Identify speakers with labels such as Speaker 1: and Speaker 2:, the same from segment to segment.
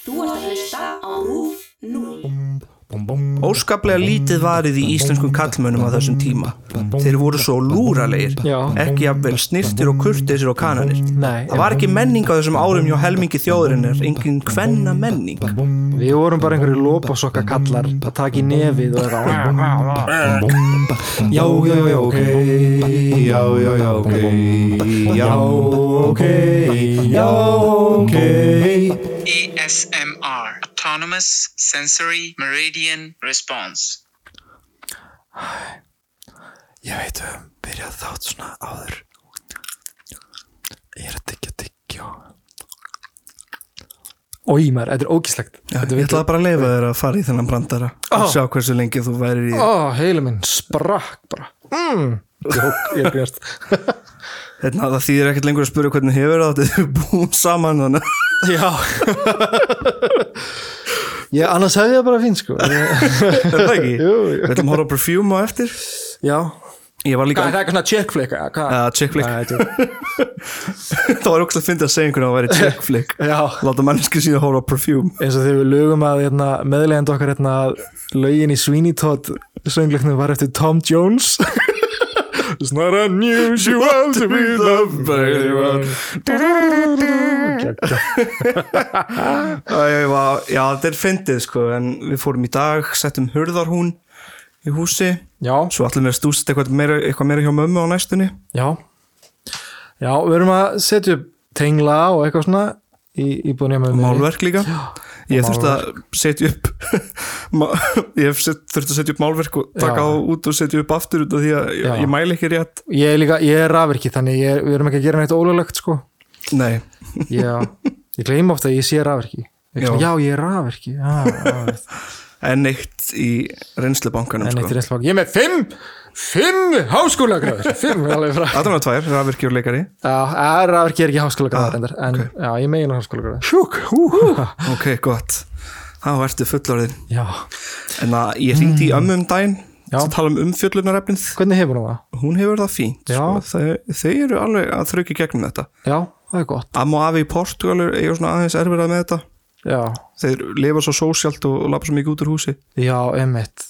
Speaker 1: Þú ert að hlusta á RÚF 0.
Speaker 2: Óskaplega lítið varið í íslenskum kallmönnum á þessum tíma. Þeir voru svo lúralegir,
Speaker 3: Já.
Speaker 2: ekki jafnvel snirtir og kurteisir og kananir.
Speaker 3: Nei,
Speaker 2: Það var ekki menning á þessum árum hjá helmingi þjóðurinnar, engin kvenna menning.
Speaker 3: Við vorum bara einhverju lópasokka kallar að taka í nefið og eitthvað
Speaker 4: Já, já, já, ok Já, já, já, ok Já, ok Já, ok
Speaker 5: ASMR Autonomous Sensory Meridian Response
Speaker 4: Ég veit um, byrjað þátt svona áður Ég er að tyggja tyggjó
Speaker 3: Ói maður, þetta er ógíslegt
Speaker 2: Já, ég ætlaði bara að leifa þér að fara í þennan brandara og
Speaker 3: Ó.
Speaker 2: sjá hversu lengi þú værir í.
Speaker 3: Ó, heilu minn, sprakk bara mm. Jók, ég er björst
Speaker 2: Hérna, það þýðir ekkert lengur að spyrja hvernig hefur það þetta er búin saman þannig. að-
Speaker 3: Já Ég, annars hefði það bara fín sko Ég-
Speaker 2: Er það ekki?
Speaker 3: Jú, jú.
Speaker 2: Við ætlum að horfa á perfume á eftir.
Speaker 3: Já
Speaker 2: Ég var líka...
Speaker 3: Hvað, það er eitthvað svona chick flick eða hvað?
Speaker 2: Ja, chick flick.
Speaker 3: Nei, þetta er-
Speaker 2: það var ógst að fyndi að segja einhvern að það væri chick flick.
Speaker 3: Já
Speaker 2: Láta manneski sína horfa á perfume.
Speaker 3: eins og þegar við lögum að hérna, meðlegend okkar hérna, að lögin í Sweeney Todd söngleiknum var eftir Tom Jones It's not unusual to be loved by anyone
Speaker 2: Æ, ég var- Já, þetta er fyndið sko, en við fórum í dag, settum hurðarhún í húsi,
Speaker 3: Já,
Speaker 2: svo allir mér að stúst eitthvað meira, eitthvað meira hjá mömmu á næstunni.
Speaker 3: já Já, við erum að setja upp tengla og eitthvað svona í, í búin hjá með
Speaker 2: Málverk líka. Ég þurfti að setja upp, ma- ég hef sett- þurfti að setja upp málverk og taka
Speaker 3: Já.
Speaker 2: á út og setja upp aftur út af því að ég,
Speaker 3: Já.
Speaker 2: ég mæli ekki rétt.
Speaker 3: Ég er líka, ég er rafvirki þannig ég, er- við erum ekki að gera neitt ólulegt sko
Speaker 2: Nei,
Speaker 3: Já, ég gleym ofta að ég sé rafvirki
Speaker 2: Já.
Speaker 3: já. já, ég er rafvirki já, já,
Speaker 2: en eitt í reynslubankanum
Speaker 3: En eitt
Speaker 2: sko.
Speaker 3: í reynslafag Ég er með fimm, fimm háskólagráður Fimm er alveg frá
Speaker 2: Adam er tvær, rafvirkji og leikari.
Speaker 3: Já, rafverki er ekki háskólagráður reyndar, En
Speaker 2: ok.
Speaker 3: já, ég megin háskólagráður Ah, Sjúk, hú, hú
Speaker 2: Ok, gott. Þá ertu fullorðin.
Speaker 3: Já,
Speaker 2: En að ég hringdi í ömmu um daginn
Speaker 3: Mm.
Speaker 2: til
Speaker 3: Já.
Speaker 2: að tala um umfjöllunarefnið.
Speaker 3: hvernig hefur hún það?
Speaker 2: hún hefur það fínt
Speaker 3: Já.
Speaker 2: sko. þau, þau eru alveg að þrauki gegnum þetta
Speaker 3: Já, það er gott
Speaker 2: Amma og afi í Portugal eru- eiga svona aðeins erfirað með þetta
Speaker 3: Já,
Speaker 2: þeir lifa svo sósjalt og lafa svo mikið út úr húsi
Speaker 3: já, einmitt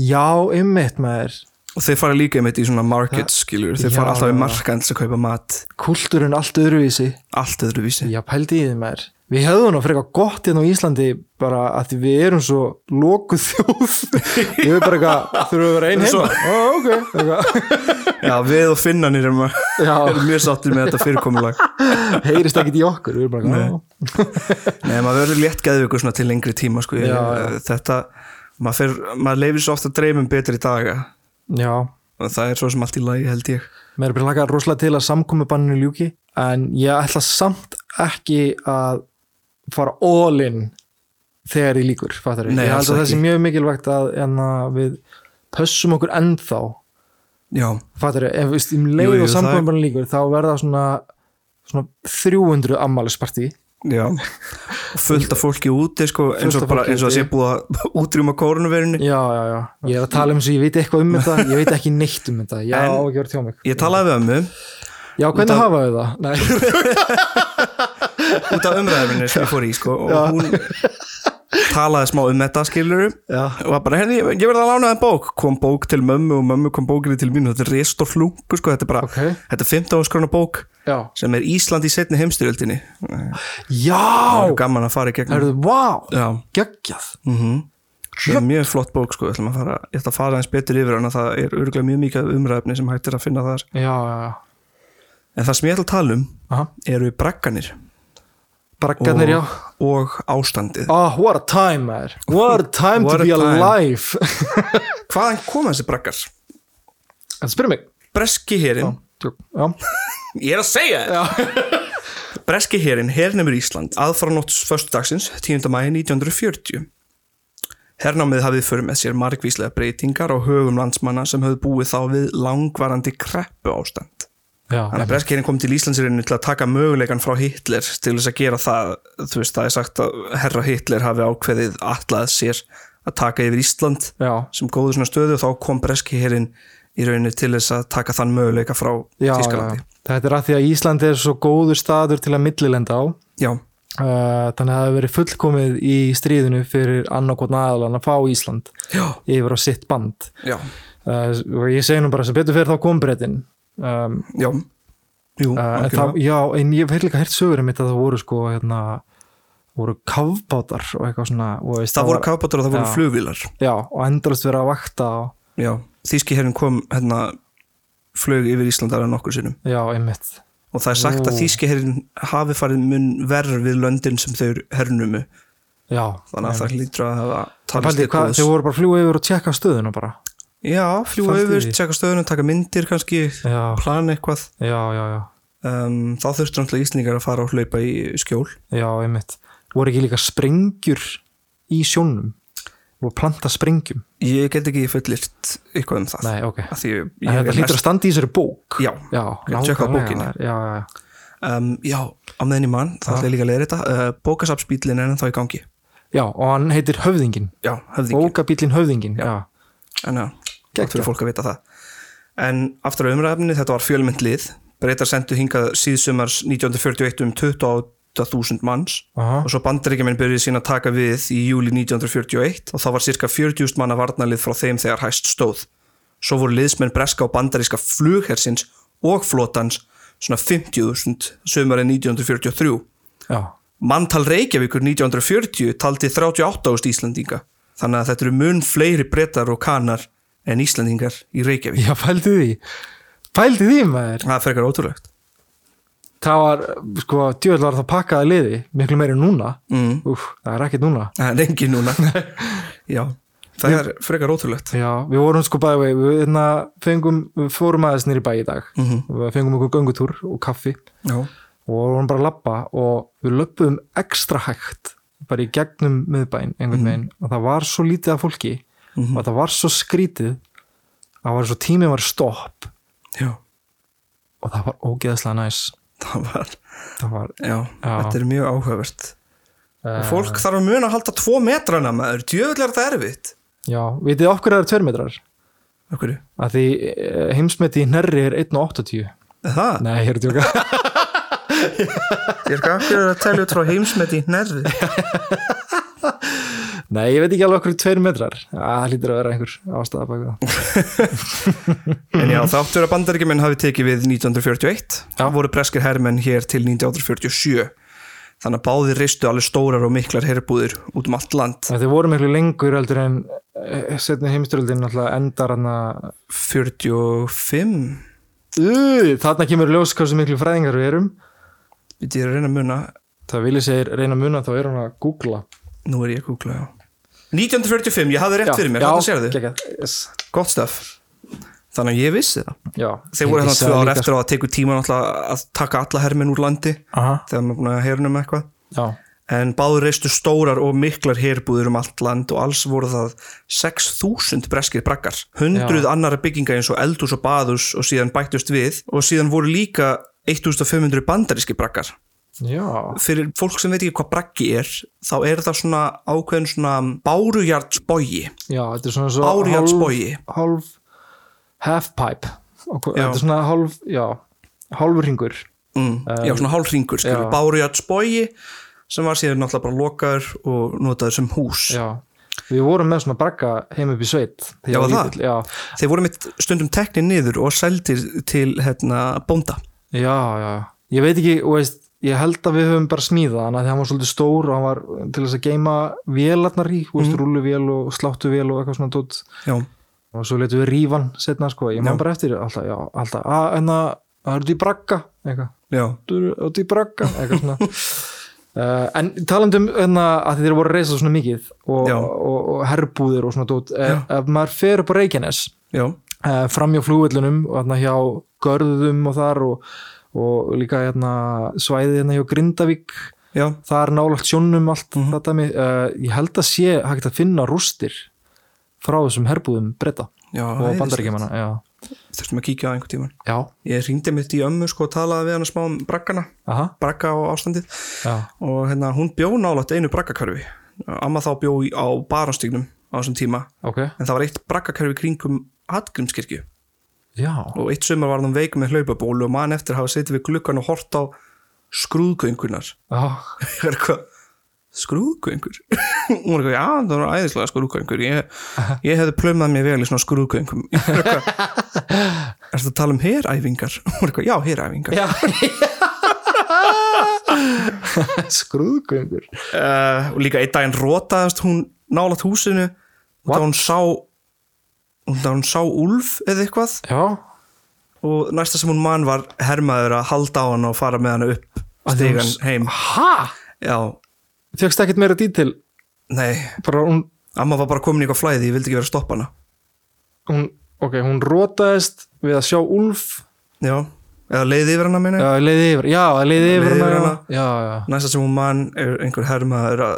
Speaker 3: Já, einmitt maður
Speaker 2: og þeir fara líka einmitt í svona markets skilur, þeir
Speaker 3: Já,
Speaker 2: fara alltaf í
Speaker 3: já.
Speaker 2: markans að kaupa mat
Speaker 3: Kultúrin allt öðruvísi
Speaker 2: allt öðruvísi
Speaker 3: Já, pældi í þið maður Við hefðum nú frekar gott hérna á Íslandi bara að því við erum svo lokuð þjóð Við erum bara eitthvað þurfum við að vera einn
Speaker 2: Svo-
Speaker 3: heima Ó, ok eitthvað.
Speaker 2: Já, við og finnanir erum, að-
Speaker 3: Já,
Speaker 2: erum mjög sáttir með þetta fyrirkomulag
Speaker 3: heyrist ekkit í okkur Við erum bara
Speaker 2: Nei.
Speaker 3: eitthvað, "Ó,
Speaker 2: Nei, maður verður létt geðvöku svona til lengri tíma sko, ég,
Speaker 3: Já, já.
Speaker 2: þetta maður, fer, maður leifir svo ofta dreymum um betri daga
Speaker 3: Já,
Speaker 2: og það er svo sem allt í lagi held ég
Speaker 3: Mér er bara lakað rosalega til að samkomi banninu ljúki en ég ætla samt ekki að fara all in þegar ég líkur, fattar
Speaker 2: Nei,
Speaker 3: Ég held
Speaker 2: alls
Speaker 3: að það
Speaker 2: ekki.
Speaker 3: sé mjög mikilvægt að, en að við pössum okkur ennþá
Speaker 2: Já,
Speaker 3: fattar við, ef við um
Speaker 2: Jú, jú,
Speaker 3: leið og
Speaker 2: það er-
Speaker 3: samkomi banninu líkur þá verða svona, svona 300 ammælisparti
Speaker 2: Já, fullt af fólki úti sko, eins og
Speaker 3: af
Speaker 2: bara
Speaker 3: fólki
Speaker 2: eins og það sé
Speaker 3: úti.
Speaker 2: búið að útrýma kórnverinu
Speaker 3: Já, já, já, ég er að tala um þessu, ég veit eitthvað um þetta ég veit ekki neitt um þetta, ég á
Speaker 2: En-
Speaker 3: ekki að vera tjá mig
Speaker 2: Ég talaði við ömmu
Speaker 3: Já, hvernig
Speaker 2: Út af-
Speaker 3: hafa við það? Nei,
Speaker 2: út af umræðurinn sem ég fór í sko, og hún talaði smá um þetta skilur
Speaker 3: Já.
Speaker 2: og var bara, herri, ég, ég verði að lána það bók kom bók til mömmu og mömmu kom bókinni til mín og þetta er rest og flungu sko, þetta er bara
Speaker 3: Ok.
Speaker 2: þetta er 15 skrona bók
Speaker 3: já,
Speaker 2: sem er Ísland í setni heimstyrjöldinni
Speaker 3: já,
Speaker 2: gaman að fara í gegnum
Speaker 3: herðu, vá
Speaker 2: Já,
Speaker 3: geggjað
Speaker 2: það er mjög flott bók sko, ætlum að fara, ég ætla að fara eins betur yfir hana það er örgulega mjög mikið umræðurinn sem hægt er að finna þar
Speaker 3: Já, já, já
Speaker 2: En það sem ég ætla að tala um
Speaker 3: Aha.
Speaker 2: eru bragganir
Speaker 3: Braggarnir, já
Speaker 2: og ástandið.
Speaker 3: Ah, what a time, maður What a time
Speaker 2: What
Speaker 3: to
Speaker 2: a
Speaker 3: be
Speaker 2: time.
Speaker 3: alive
Speaker 2: Hvaðan koma þessi braggar?
Speaker 3: Það spyrir mig
Speaker 2: Breski herin,
Speaker 3: Tjók. Já,
Speaker 2: ég er að segja þetta! Breski herin, hernemur Ísland, aðfaranótts föstudagsins, 10. mæði 1940. Hernámið hafið fyrir með sér margvíslega breytingar á högum landsmanna sem höfðu búið þá við langvarandi kreppu ástand.
Speaker 3: já,
Speaker 2: Þannig að breski herin kom til Íslandsirinu til að taka möguleikan frá Hitler til þess að gera það, þú veist, það er sagt að herra Hitler hafi ákveðið allað sér að taka yfir Ísland
Speaker 3: já,
Speaker 2: sem góðu svona stöðu og þá kom breski herin í rauninu til þess að taka þann möguleika frá
Speaker 3: já, já
Speaker 2: Tískalandi.
Speaker 3: Þetta er að því að Ísland er svo góður staður til að millilenda á
Speaker 2: Já,
Speaker 3: uh, þannig að það hefur verið fullkomið í stríðinu fyrir annarkotna aðalan að fá Ísland
Speaker 2: já,
Speaker 3: yfir á sitt band
Speaker 2: já,
Speaker 3: uh, og ég segi nú bara sem betur fyrir þá kom breytin um,
Speaker 2: já Jú,
Speaker 3: Uh, en
Speaker 2: algjörlega.
Speaker 3: það, já, en ég hef líka hert sögur um þetta að það voru sko hérna, voru kafbátar og eitthvað svona og veist,
Speaker 2: það voru kafbátur og það voru
Speaker 3: Já.
Speaker 2: flugvílar
Speaker 3: já, og endalist verið að vakta og,
Speaker 2: já, þýski herrin kom hérna flög yfir Íslandara nokkur sinnum
Speaker 3: já, einmitt
Speaker 2: og það er sagt
Speaker 3: Nú.
Speaker 2: að þýski herrin hafi farið mun verð við löndin sem þeir hernumu
Speaker 3: já,
Speaker 2: þannig að það hlýtur að hafa talist
Speaker 3: Paldi,
Speaker 2: til
Speaker 3: hvað,
Speaker 2: góðs.
Speaker 3: þau voru bara að fljúa yfir og tjekka stöðuna bara
Speaker 2: já, fljúa
Speaker 3: Pældi
Speaker 2: yfir,
Speaker 3: því.
Speaker 2: tjekka stöðunum, taka myndir kannski,
Speaker 3: já,
Speaker 2: plana eitthvað
Speaker 3: já, já, já,
Speaker 2: um, þá þurftur náttúrulega Íslingar að fara og hlaupa í skjól
Speaker 3: já, einmitt voru ekki líka sprengjur í sjónum voru að planta sprengjum
Speaker 2: ég get ekki fullirt eitthvað um það
Speaker 3: nei, ok,
Speaker 2: Af því ég,
Speaker 3: en þetta hlýtur að standa í þessari bók
Speaker 2: Já,
Speaker 3: já,
Speaker 2: Ég tjekka á
Speaker 3: nákvæmlega,
Speaker 2: bókinni.
Speaker 3: maður. já, já, já
Speaker 2: um, já, á meðin í mann, það ætla ég líka að leiða þetta uh, bókasapsbílinn er ennþá í gangi
Speaker 3: Já, og hann heitir Höfðingin,
Speaker 2: já, höfði ekki,
Speaker 3: bókabílinn Höfðingin já,
Speaker 2: en já gott
Speaker 3: Geggjað.
Speaker 2: fyrir fólk að vita það en aftur á umræðinni, þetta var fjölmynd lið breytar sendu hingað síðsumars 1941 um 28.000 manns
Speaker 3: Aha.
Speaker 2: og svo bandaríkjuminn byrjuði sína að taka við í júli 1941 og þá var cirka 40.000 manna varnalið frá þeim þegar hæst stóð. Svo voru liðsmenn breska og bandaríska flughersins og flotans svona 50.000 sömarið 1943.
Speaker 3: já.
Speaker 2: Manntal Reykjavíkur 1940 taldi 38.000 Íslandinga þannig að þetta eru mun fleiri brettar og kanar en Íslandingar í Reykjavík.
Speaker 3: Já, pældi því Pældi því maður
Speaker 2: Það er frekar ótrúlegt.
Speaker 3: Það var, sko, djöðl var það pakkaði liði Miklu meiri en núna mm. Úf, það er ekkert núna
Speaker 2: Það er engin núna. Já, það er frekar ótrúlegt.
Speaker 3: Já, við vorum sko bæði vei Við hérna, fengum, við fórum aðeins nýri bæ í dag
Speaker 2: Mhm.
Speaker 3: Við fengum okkur göngutúr og kaffi
Speaker 2: Já,
Speaker 3: Og vorum bara að labba Og við löpum ekstra hægt Bara í gegnum miðbæin einhvern veginn Og það var svo lítið af fólki Og það var svo skrítið Það var svo tímið var stopp
Speaker 2: já,
Speaker 3: Og það var ógeðslega næs
Speaker 2: það var...
Speaker 3: Það var
Speaker 2: Já,
Speaker 3: Já.
Speaker 2: þetta er mjög áhugavert og fólk þarf að muna að halda tvo metrana maður, djöfull er það erfitt
Speaker 3: Já, vitið þið okkur að það er tvermetrar?
Speaker 2: Af hverju?
Speaker 3: að því eh, heimsmeti í nærri er 1.80
Speaker 2: Er Það,
Speaker 3: Nei, ég er að djóka
Speaker 2: ég er ekki af hverju að telja út frá heimsmeti nærði
Speaker 3: Nei, ég veit ekki alveg okkur tveir metrar Að, Það hlýtur að vera einhver ástæða bak við það
Speaker 2: En já, þáttur að bandaríkjumenn hafi tekið við 1941
Speaker 3: Já.
Speaker 2: voru breskir hermenn hér til 1947 Þannig að báðir reistu alveg stórar og miklar herbúðir út um allt land
Speaker 3: En Þau voru miklu lengur heldur en setni heimstyröldin náttúrulega endar hann að
Speaker 2: 45
Speaker 3: Uh, Þarna kemur í ljós hversu miklu fræðingar við erum
Speaker 2: Við ég er að reyna að muna
Speaker 3: Það vilja segir reyna að muna þá er hann að googla
Speaker 2: Nú er ég að googla, já 1945, ég hafði rétt fyrir mér, þetta sér þið
Speaker 3: geggjað. yes.
Speaker 2: Gott stöf Þannig að ég vissi það
Speaker 3: Já,
Speaker 2: þeir voru hérna tvö ára
Speaker 3: sko.
Speaker 2: eftir á að teku tíma náttúrulega að taka alla herminn úr landi
Speaker 3: Aha,
Speaker 2: þegar maður er búin að hernum eitthvað
Speaker 3: já,
Speaker 2: en báður reistu stórar og miklar herbúður um allt land og alls voru það 6.000 breskir brakkar hundruð
Speaker 3: Já.
Speaker 2: annara bygginga eins og eldhús og baðhús og síðan bættust við og síðan voru líka 1500 bandaríski brakkar
Speaker 3: já,
Speaker 2: fyrir fólk sem veit ekki hvað brakki er þá er það svona ákveðin svona bárujartsbogi
Speaker 3: já, þetta er svona svo
Speaker 2: bárujartsbogi
Speaker 3: hálf halfpipe Ok,
Speaker 2: Já.
Speaker 3: þetta er svona hálf, já, hálfur ringur
Speaker 2: mm, já, svona hálfringur skilur,
Speaker 3: Eh, já.
Speaker 2: bárujartsbogi sem var síðan náttúrulega bara lokaður og notaður sem hús
Speaker 3: Já, við vorum með svona bragga heim upp í sveit
Speaker 2: Já,
Speaker 3: þegar ég
Speaker 2: var
Speaker 3: var lítill.
Speaker 2: þeir voru mitt stundum teknir niður og seldir til hérna, bónda
Speaker 3: Já, já, já Ég veit ekki, þú veist, ég held að við höfum bara smíðað hann að því hann var svolítið stór og hann var til þess að geima vélarnar í þú veist,
Speaker 2: Mhm.
Speaker 3: rúluvél og sláttuvél og eitthvað svona tótt
Speaker 2: já,
Speaker 3: og svo letum við rífan setna, sko, ég man bara eftir því, alltaf, já, alltaf, að, en að það eru því bragga, eitthvað,
Speaker 2: já,
Speaker 3: þú eru því bragga eitthvað svona Uh, en talandum hérna að þeir voru að reisa svona mikið og,
Speaker 2: Já.
Speaker 3: og, og herbúðir og svona dót ef, ef maður fer upp á Reykjanes
Speaker 2: já,
Speaker 3: uh, framjá flugvöllunum og hérna hjá Görðum og þar og, og líka hérna svæði hérna hjá Grindavík
Speaker 2: já,
Speaker 3: það er nálægt sjónum allt
Speaker 2: Mhm.
Speaker 3: mm þetta mig, uh, ég held að sé hægt að finna rústir frá þessum herbúðum breyta
Speaker 2: já
Speaker 3: og
Speaker 2: æðislegt.
Speaker 3: bandaríkjamanna já,
Speaker 2: þurftum að kíkja á einhvern tíman
Speaker 3: já,
Speaker 2: ég ringdi mitt í ömmu sko og talaði við hana smá um braggana
Speaker 3: aha,
Speaker 2: bragga og ástandið
Speaker 3: já,
Speaker 2: og hérna hún bjó nálægt einu braggakörfi amma þá bjó í- á baranstignum á þessum tíma
Speaker 3: ok
Speaker 2: en það var eitt braggakörfi kringum Hallgrímskirkju
Speaker 3: já,
Speaker 2: og eitt sumar var hann veik með hlaupabólu og mann eftir að hafa setið við glukkan og hort á skrúðgöngunar
Speaker 3: Já,
Speaker 2: Ég var eitthvað skrúðgöngur hún var eitthvað, já það var æðislega skrúðgöngur ég, ég hefði plömmað mér vel í svona skrúðgöngum Ég var eitthvað, ertu að tala um heræfingar hún var eitthvað, já heræfingar
Speaker 3: Já. skrúðgöngur
Speaker 2: uh, og líka einn daginn rótaðast hún nálat húsinu og þá
Speaker 3: What?
Speaker 2: hún sá og þá hún sá úlf eða eitthvað
Speaker 3: Já,
Speaker 2: og næsta sem hún mann var hermaður að halda á hann og fara með hann upp stegan heim
Speaker 3: ha?
Speaker 2: já,
Speaker 3: Fjökkst ekkert meira dítil
Speaker 2: nei,
Speaker 3: bara hún,
Speaker 2: amma var bara komin í eitthvað flæði ég vildi ekki vera að stoppa hana
Speaker 3: hún ok, hún rótaðist við að sjá Úlf
Speaker 2: já, eða leiði yfir hana minni
Speaker 3: Já, leiði yfir, já, leiði yfir
Speaker 2: Leiði
Speaker 3: hana,
Speaker 2: yfir hana.
Speaker 3: Já, já,
Speaker 2: næsta sem hún mann er einhver hermaður að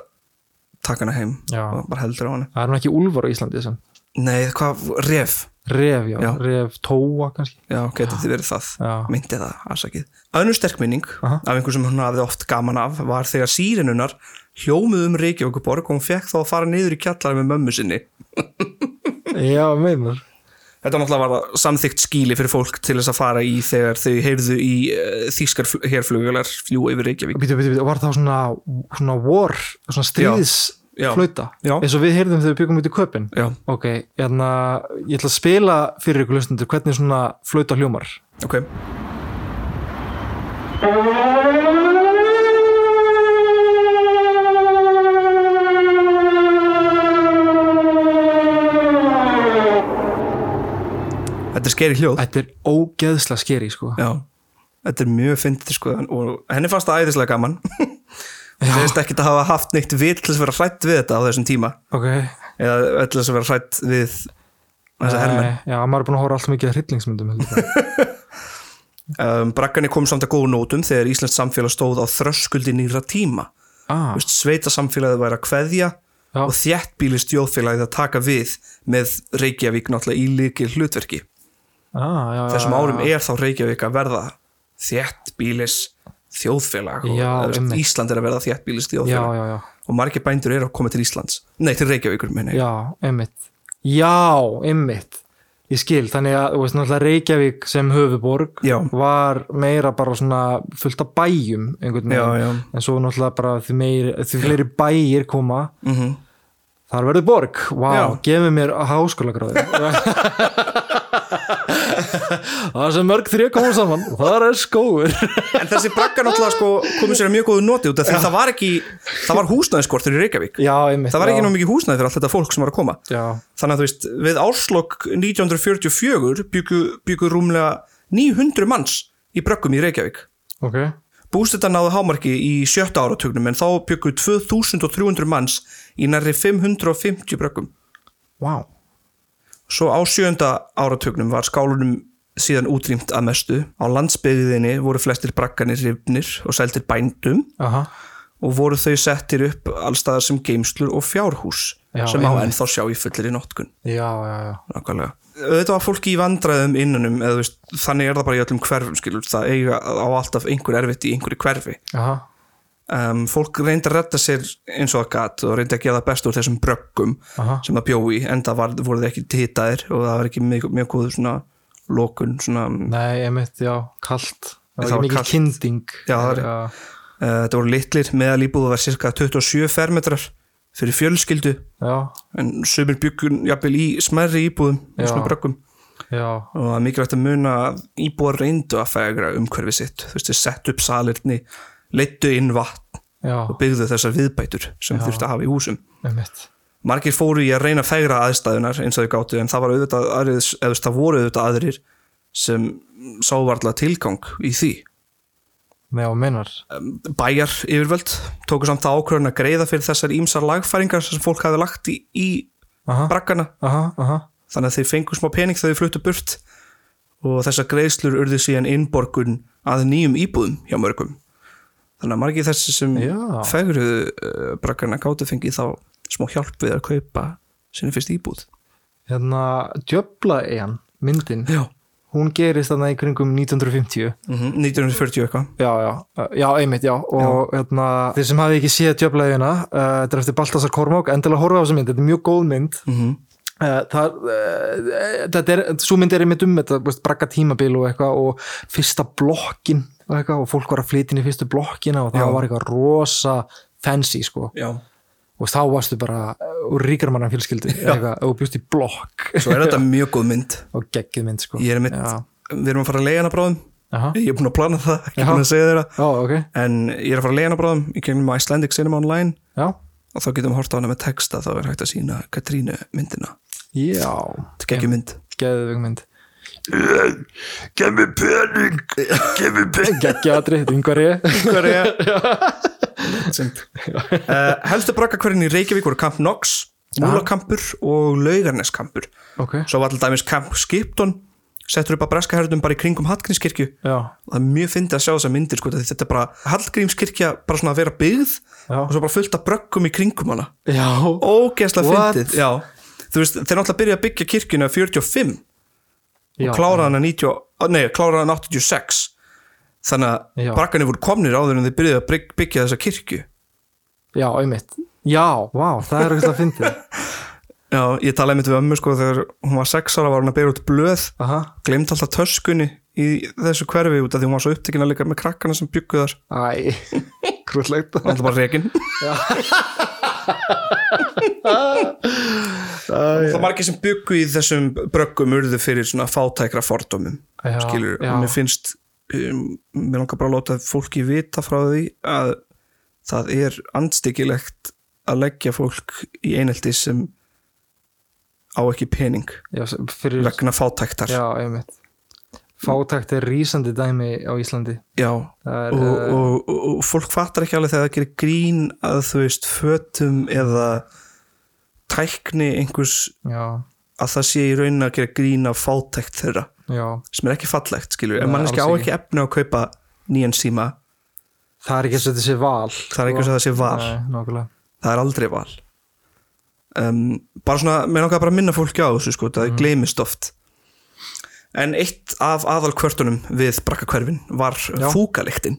Speaker 2: taka hana heim
Speaker 3: Já.
Speaker 2: og bara heldur á hana
Speaker 3: það er nú ekki Úlfar á Íslandi sem.
Speaker 2: nei, hvað, ref
Speaker 3: Ref, já,
Speaker 2: Já.
Speaker 3: ref tóa kannski
Speaker 2: já, getur þið verið það,
Speaker 3: Já.
Speaker 2: myndi það afsakið önnur sterkminning
Speaker 3: Aha.
Speaker 2: af einhver sem hún hafði oft gaman af var þegar sírenunar hljómuð um Reykjavíkuborg og hún fekk þá að fara niður í kjallara með mömmu sinni
Speaker 3: Já, meinar
Speaker 2: Þetta náttúrulega var það samþygt skíli fyrir fólk til þess að fara í þegar þau heyrðu í uh, þýskar fl- herflugvélar fljú yfir Reykjavík.
Speaker 3: Býtu, býtu, býtu, var það svona, svona war, svona
Speaker 2: Já, já.
Speaker 3: stríðsflauta
Speaker 2: Já.
Speaker 3: eins og við heyrðum þegar við byggum út í köpinn
Speaker 2: Já,
Speaker 3: Ok, hérna, ég ætla að spila fyrir ykkur lustundur hvernig svona flauta hljómar
Speaker 2: ok. Þetta er skeri hljóð.
Speaker 3: Þetta er ógeðslega skeri, sko
Speaker 2: Já, þetta er mjög fyndið sko og henni fannst það æðislega gaman. Hún veist ekki að hafa haft neitt vil til þess að vera hrætt við þetta á þessum tíma
Speaker 3: Ok,
Speaker 2: eða til þess að vera hrætt við þessa hermenn.
Speaker 3: Nei, Já, maður er búin að hóra alltaf mikið að hryllingsmyndum heldur ég.
Speaker 2: um, brakkanni kom samt að góðu nótum þegar Íslands samfélag stóð á þröskuldi nýra tíma
Speaker 3: ah,
Speaker 2: Vist, sveita samfélagið væri að kveðja
Speaker 3: Já.
Speaker 2: og þjættbílis stjóðfélagið að taka við með Reykjavík náttúrulega í líkil hlutverki
Speaker 3: ah, já, já,
Speaker 2: þessum
Speaker 3: já,
Speaker 2: árum er þá Reykjavík að verða þjættbílis þjóðfélag og
Speaker 3: Já,
Speaker 2: þú veist,
Speaker 3: einmitt.
Speaker 2: Ísland er að verða þjættbílis
Speaker 3: Já,
Speaker 2: þjóðfélag
Speaker 3: já, já,
Speaker 2: og margir bændur eru að koma til Íslands nei, til Reykjavíkur minni
Speaker 3: já, einmitt Já, einmitt Ég skil, þannig að, þú veist, náttúrulega Reykjavík sem höfuborg
Speaker 2: Já.
Speaker 3: var meira bara svona fullt af bæjum einhvern
Speaker 2: Já,
Speaker 3: veginn,
Speaker 2: já.
Speaker 3: en svo náttúrulega bara því, meiri, því fleiri bæir koma
Speaker 2: Mhm.
Speaker 3: Þar verður borg, vá, wow,
Speaker 2: Já.
Speaker 3: gefið mér háskólagráði. það er sem mörg þrjö koma saman, þar er skóur.
Speaker 2: en þessi brakka náttúrulega sko, komið sér að mjög góðu noti út af því að það var ekki það var húsnæðiskortur í Reykjavík
Speaker 3: Já, einmitt.
Speaker 2: það var ekki
Speaker 3: já.
Speaker 2: nóg mikið húsnæði fyrir allt þetta fólk sem var að koma
Speaker 3: Já,
Speaker 2: þannig að þú veist, við árslokk 1944 byggu, byggu rúmlega 900 manns í bröggum í Reykjavík
Speaker 3: ok.
Speaker 2: bústetta náðu hámarki í sjötta áratugnum en þá byggu 2300 manns í nærri 550 bröggum
Speaker 3: Vá.
Speaker 2: svo á sjönda áratugnum var skálunum síðan útrýmt að mestu á landsbyggðinni voru flestir bragganir rifnir og seldir bændum
Speaker 3: Aha.
Speaker 2: og voru þau settir upp allstaðar sem geimslur og fjárhús
Speaker 3: Já,
Speaker 2: sem á
Speaker 3: einmitt.
Speaker 2: ennþá sjá í fullri notkun
Speaker 3: Já, já, já.
Speaker 2: Nákvæmlega. auðvitað var fólki í vandræðum innanum eða þú veist, þannig er það bara í öllum hverfum skilur, það eiga á alltaf einhver erfitt í einhverju hverfi
Speaker 3: Aha.
Speaker 2: um, fólk reyndi að redda sér eins og að gat og reyndi að gera það best úr þessum bröggum
Speaker 3: Aha.
Speaker 2: sem það bjói en það var, voru þið ekki hitaðir og það var ekki mjög, mjög góður svona lokun svona, uh,
Speaker 3: Nei, einmitt, já, kalt.
Speaker 2: Það
Speaker 3: Það var
Speaker 2: var
Speaker 3: mikið
Speaker 2: kalt.
Speaker 3: kynding.
Speaker 2: Já, það er- uh, þetta voru litlir meðalíbúð var cirka 27 fermetrar fyrir fjölskyldu
Speaker 3: Já,
Speaker 2: en sömur byggjum jafnvel í smerri íbúðum
Speaker 3: Já.
Speaker 2: og svona bröggum
Speaker 3: já,
Speaker 2: og það er mikilvægt að muna að íbúar reyndu að fegra umhverfi sitt þú veist, þeir settu upp salirni leittu inn vatn
Speaker 3: já,
Speaker 2: og byggðu þessar viðbætur sem þurfti að hafa í húsum
Speaker 3: einmitt.
Speaker 2: margir fóru í að reyna að fegra aðstæðunar eins og þau gáttu en það var auðvitað aðrið, eða þú veist, það voru auðvitað aðrir sem sávarla tilgang í því
Speaker 3: Nei, og minnar.
Speaker 2: bæjar yfirvöld tóku samt það ákvörðun að greiða fyrir þessar ímsar lagfæringar sem fólk hafi lagt í, í
Speaker 3: Aha.
Speaker 2: brakkana
Speaker 3: Aha, aha.
Speaker 2: þannig að þeir fengu smá pening þegar þeir fluttu burt og þessar greiðslur urðu síðan innborgun að nýjum íbúðum hjá mörgum þannig að margir þessi sem
Speaker 3: Já.
Speaker 2: fegruðu uh, brakkana gáttu fengið þá smá hjálp við að kaupa sinni fyrst íbúð
Speaker 3: Hérna, djöbla eigin, myndin.
Speaker 2: Já.
Speaker 3: Hún gerist þarna í kringum 1950.
Speaker 2: Mhm, 1940 eitthvað
Speaker 3: já, já, já, einmitt, já og hérna, þeir sem hafi ekki séð djöflaðina, uh, þetta er eftir Baltasar Kormák endilega horfa á þessa mynd, þetta er mjög góð mynd mm
Speaker 2: Mhm.
Speaker 3: -hmm. það, uh, þetta er svo mynd er einmitt um þetta, veist, bragga tímabil og eitthvað og fyrsta blokkin og, eitthvað, og fólk var að flytja inn í fyrstu blokkina og það
Speaker 2: Já.
Speaker 3: var eitthvað rosa fancy sko
Speaker 2: já.
Speaker 3: og þá varstu bara uh, úr ríkar manna fjölskyldu eða eitthvað, og bjóst í blokk
Speaker 2: Svo er þetta mjög góð mynd
Speaker 3: og geggið mynd sko
Speaker 2: Ég er mitt,
Speaker 3: já,
Speaker 2: við erum að fara að leiða hana bráðum
Speaker 3: Aha.
Speaker 2: Ég er búin að plana það, ekki
Speaker 3: Já.
Speaker 2: búin að segja þeirra
Speaker 3: já ok
Speaker 2: En ég er að fara að leiða hana bráðum Ég kemur með Icelandic Cinema Online
Speaker 3: já,
Speaker 2: Og þá getum við horta hana með texta Þá er hægt að sína Katrínu myndina
Speaker 3: já,
Speaker 2: Þetta er ekki mynd
Speaker 3: geggið mynd
Speaker 4: Gef mér pening Gef mér pening
Speaker 3: geggið atrið, yngvar ég
Speaker 2: Hverja uh, Helstu brakkakverðin í Reykjavík voru Camp Nox Múlakampur og Laugarneskampur
Speaker 3: ok,
Speaker 2: Svo var alltaf dæmis Camp Skipton Settur upp að breska herðum bara í kringum Hallgrímskirkju
Speaker 3: já,
Speaker 2: og það er mjög fyndið að sjá þessa myndir sko, því þetta er bara Hallgrímskirkja bara svona að vera byggð
Speaker 3: Já.
Speaker 2: og svo bara fullt af bröggum í kringum hana
Speaker 3: já
Speaker 2: ógeðslega
Speaker 3: What?
Speaker 2: fyndið já. þú veist, þeir náttúrulega byrja að byggja kirkjuna 45
Speaker 3: já,
Speaker 2: og klára hana 90, og- nei, klára hana 86 þannig að
Speaker 3: Já.
Speaker 2: brakkanir voru komnir áður en þeir byrjuðu að bygg- byggja þessa kirkju
Speaker 3: já, einmitt já, vá, það er eitthvað að fyndi
Speaker 2: já, ég talaði einmitt við ömmu sko þegar hún var 6 ára var hún að byrja út blöð
Speaker 3: aha,
Speaker 2: glemt alltaf töskunni í þessu hverfi út af því hún var svo upptekina líka með krakkana sem byggu þar
Speaker 3: æ, krúllegt
Speaker 2: Það var alltaf bara rekin Það margir sem byggu í þessum bröggum urðu fyrir svona fátækra fordómum
Speaker 3: Já,
Speaker 2: skilur,
Speaker 3: já.
Speaker 2: og mér finnst um, mér langar bara að láta fólki vita frá því að það er andstyggilegt að leggja fólk í einhelti sem á ekki pening
Speaker 3: já, fyrir,
Speaker 2: vegna fátæktar
Speaker 3: já, einmitt fátækt er rísandi dæmi á Íslandi
Speaker 2: Já,
Speaker 3: Það er,
Speaker 2: og,
Speaker 3: eh,
Speaker 2: og, og, og fólk fattar ekki alveg þegar það gerir grín að þú veist fötum eða tækni einhvers
Speaker 3: já,
Speaker 2: að það sé í raunin að gera grín af fátækt þeirra
Speaker 3: já,
Speaker 2: sem er ekki fallegt skilur, en
Speaker 3: Nei,
Speaker 2: manneski á
Speaker 3: alls
Speaker 2: ekki efni á að kaupa nýjan síma,
Speaker 3: það er ekki eins og þetta sé val
Speaker 2: það er ekki eins og það sé val
Speaker 3: Nei, nákvæmlega
Speaker 2: það er aldrei val um, bara svona, mér langar bara að minna fólki á þessu sko,
Speaker 3: Mhm.
Speaker 2: það gleymist oft en eitt af aðalkvörtunum við brakkakverfin var
Speaker 3: Já.
Speaker 2: fúkaliktin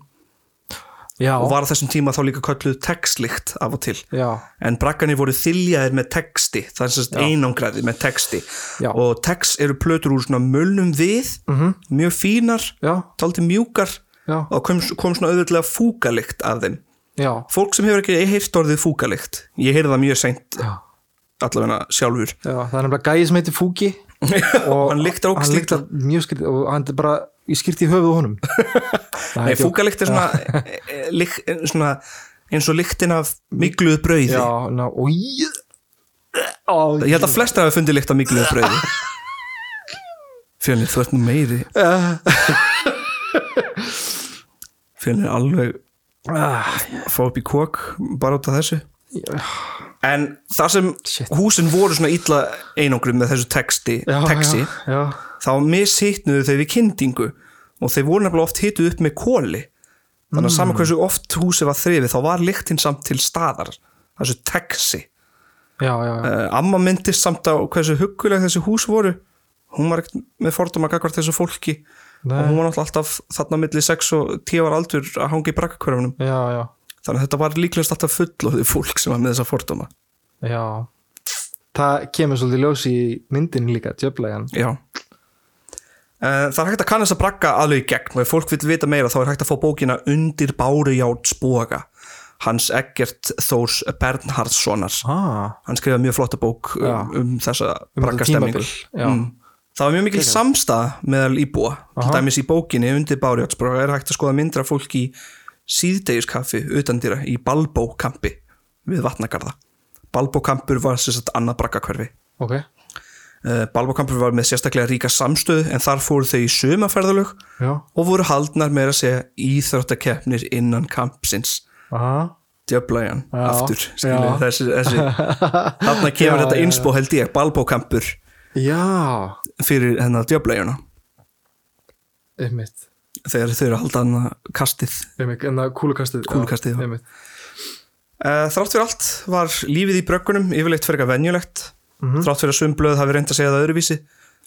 Speaker 3: já,
Speaker 2: og var á þessum tíma þá líka kölluð textlikt af og til
Speaker 3: já,
Speaker 2: en brakkanir voru þyljaðir með texti það er sérst einangraðir með texti
Speaker 3: Já. Mhm.
Speaker 2: og text eru plötur úr svona mölnum við -hmm. mjög fínar,
Speaker 3: já,
Speaker 2: tóldi mjúkar
Speaker 3: já,
Speaker 2: og kom, kom svona auðvitað fúkalikt af þeim
Speaker 3: já,
Speaker 2: fólk sem hefur ekki heyrt orðið fúkalikt ég heyrði það mjög seint
Speaker 3: já.
Speaker 2: allavega sjálfur
Speaker 3: Já, það er nefnilega gæði sem heitir Fúki og
Speaker 2: Hann lyktar ógeðslega
Speaker 3: hann lyktar mjög skrítið og hann er bara í skýrt í höfuð á honum Nei,
Speaker 2: Nei,
Speaker 3: djók.
Speaker 2: fúkalikt er svona, e, e, lyk, svona eins og lyktin af mikluð brauði
Speaker 3: Já, ná, og ég Ó,
Speaker 2: ég held að flestir hafi fundið lykt af mikluð brauði Fjölnir, þú ert nú meiri Fjölnir er alveg
Speaker 3: Ah,
Speaker 2: að fá upp í kók bara út af þessu en það sem
Speaker 3: Shit.
Speaker 2: húsin voru svona illa einangrum með þessu texti,
Speaker 3: já,
Speaker 2: texti
Speaker 3: Já, já,
Speaker 2: þá mishittnuðu þau við kyndingu og þau voru nefnilega oft hittuð upp með kóli þannig að saman hversu oft húsi var þrifið þá var lyktin samt til staðar þessu texi
Speaker 3: já, já, já.
Speaker 2: uh, amma myndist samt á hversu hugguleg þessi hús voru hún var ekkert með fordóma gagvart þessu fólki og hún var náttúrulega alltaf þarna milli 6 og 10 ára aldur að hangi í brakkakverfunum
Speaker 3: já, já,
Speaker 2: þannig að þetta var líklegast alltaf fullóðið fólk sem var með þessa fordóma
Speaker 3: já. Það kemur svolítið ljós í myndin líka, djöflegan
Speaker 2: já Eh, Það er hægt að kanna þess að bragga alveg í gegn og ef fólk vil vita meira þá er hægt að fá bókina Undir Bárujátt Spoga Hans Eggert Þórs Bernhardssonar
Speaker 3: ah,
Speaker 2: Hann skrifaði mjög flotta bók
Speaker 3: Já.
Speaker 2: um, um þessa
Speaker 3: Um þetta
Speaker 2: braggastemming
Speaker 3: tímabil, já.
Speaker 2: Það var mjög mikil samstað meðal íbúa til dæmis í bókinni Undir Bárujátt Spoga er hægt að skoða myndra fólk í síðdegiskaffi utandýra í Balbókampi við Vatnagarða Balbókampur var sem sagt annað braggakverfi
Speaker 3: Ok,
Speaker 2: Eh, Balbakampur var með sérstaklega ríka samstöð en þar fóru þau í sömaferðalög
Speaker 3: já
Speaker 2: og voru haldnar meira að segja íþróttakeppnir innan kampsins
Speaker 3: Aha.
Speaker 2: djöflajan
Speaker 3: Já,
Speaker 2: aftur skilur,
Speaker 3: já.
Speaker 2: þessi, þessi. þarna kemur
Speaker 3: Já,
Speaker 2: þetta
Speaker 3: já,
Speaker 2: inspo held ég Balbokampur
Speaker 3: Já,
Speaker 2: fyrir hennar djöflajana
Speaker 3: einmitt
Speaker 2: þegar þau eru að halda hann kastið
Speaker 3: Einmitt, en það kúlukastið já,
Speaker 2: Kúlukastið, já.
Speaker 3: einmitt.
Speaker 2: Eh, Þrátt fyrir allt var lífið í bröggunum yfirleitt fyrir eitthvað venjulegt
Speaker 3: Mhm.
Speaker 2: þrátt fyrir að sumblöð hafi reynd að segja það öðruvísi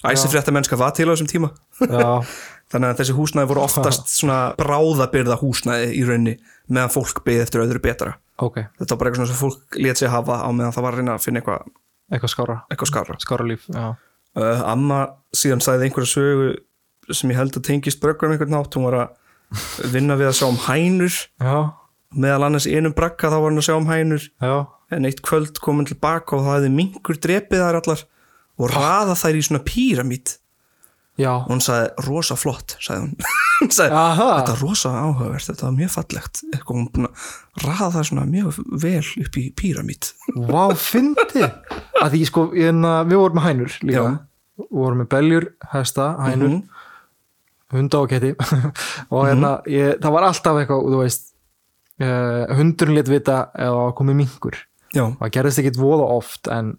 Speaker 2: æsifrétta mennska var til á þessum tíma
Speaker 3: Já,
Speaker 2: þannig að þessi húsnæði voru oftast svona bráðabyrða húsnæði í raunni meðan fólk beði eftir öðru betra
Speaker 3: ok,
Speaker 2: þetta var bara eitthvað svona sem fólk let sig hafa á meðan það var að reyna að finna eitthvað
Speaker 3: eitthvað skára
Speaker 2: eitthva skarra
Speaker 3: Skára líf, já
Speaker 2: uh, amma síðan sagði einhverja sögu sem ég held að tengist bröggum einhvern nátt hún var að vinna við að sjá um hænur
Speaker 3: já,
Speaker 2: meðal annars í einum brakka þá var hann að sjá um hænur
Speaker 3: já,
Speaker 2: en eitt kvöld kom hann tilbaka og það hefði minkur drepið þær allar og raða þær í svona píramít
Speaker 3: já
Speaker 2: og hún sagði rosa flott sagði hún, hún sagði,
Speaker 3: Aha.
Speaker 2: þetta er rosa áhugavert þetta var mjög fallegt eitthvað hún búin að raða það svona mjög vel upp í píramít
Speaker 3: Vá, fyndi að því sko, hérna, við vorum með hænur líka,
Speaker 2: Já. Mhm.
Speaker 3: við vorum með beljur hesta, hænur hunda og ketti og hérna, ég, það var alltaf eitthvað, þú veist uh, hundurinn létt vita eða komið mingur,
Speaker 2: já,
Speaker 3: það gerðist ekkit voða oft en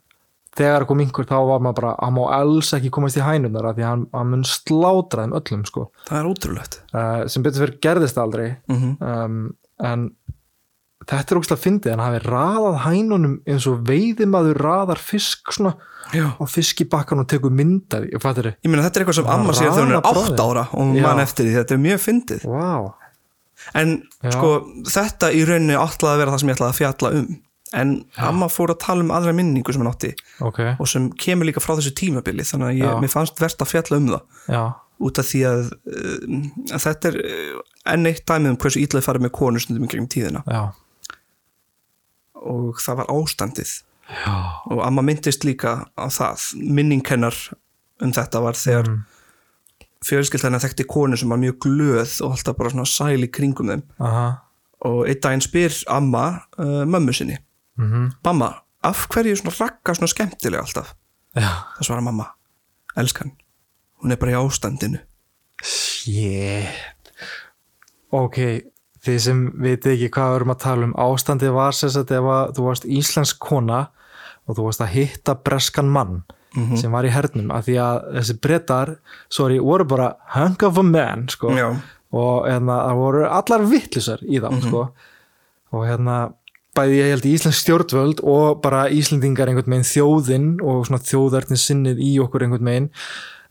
Speaker 3: þegar kom mingur þá var maður bara, hann má alls ekki komast í hænurnar af því hann, hann mun slátra þeim öllum sko,
Speaker 2: það er ótrúlegt
Speaker 3: uh, sem betur fyrir gerðist það aldrei
Speaker 2: Mhm.
Speaker 3: um, en þetta er ógstlega fyndið, hann hafi raðað hænunum eins og veiðimaður raðar fisk svona
Speaker 2: já.
Speaker 3: á fiskibakkan og tekur myndaði, ég fattir þið
Speaker 2: ég meina þetta er eitthvað sem
Speaker 3: Bara
Speaker 2: amma sér þegar hún er
Speaker 3: raða bróður.
Speaker 2: 8 ára og hún
Speaker 3: Já.
Speaker 2: man eftir því, þetta er mjög fyndið
Speaker 3: wow.
Speaker 2: en
Speaker 3: Já.
Speaker 2: sko þetta í rauninni ætlaði að vera það sem ég ætlaði að fjalla um en amma fór að tala um aðra minningu sem hann átti
Speaker 3: ok,
Speaker 2: og sem kemur líka frá þessu tímabili þannig að
Speaker 3: Já.
Speaker 2: ég, mér fannst verðt að fjalla um það
Speaker 3: já,
Speaker 2: út af því að, uh, að þetta er uh, enn eitt dæmið um hversu ítlaði farið með konur stundum í gegnum tíðina
Speaker 3: já,
Speaker 2: og það var ástandið Já. og amma myndist líka á það minning hennar um þetta var þegar mm. fjölskyldana þekkti konu sem var mjög glöð og alltaf bara svona sæli kringum þeim
Speaker 3: aha
Speaker 2: og einn daginn spyr amma uh, mömmu sinni
Speaker 3: mm
Speaker 2: mamma, af hverju svona rakka svona skemmtilega alltaf?
Speaker 3: já,
Speaker 2: Það svarar mamma, elskan hún er bara í ástandinu
Speaker 3: shit ok, þið sem viti ekki hvað við erum að tala um, ástandið var sem sagt ef að þú varst íslensk kona og þú varst að hitta breskan mann sem var í hernum, af því að þessi brettar, sorry, voru bara hung of a man, sko
Speaker 2: Já.
Speaker 3: og hérna, það voru allar vittlisar í þá, sko og hérna, bæði ég held í Íslands stjórnvöld og bara Íslendingar einhvern veginn þjóðinn og svona þjóðarnin sinnið í okkur einhvern veginn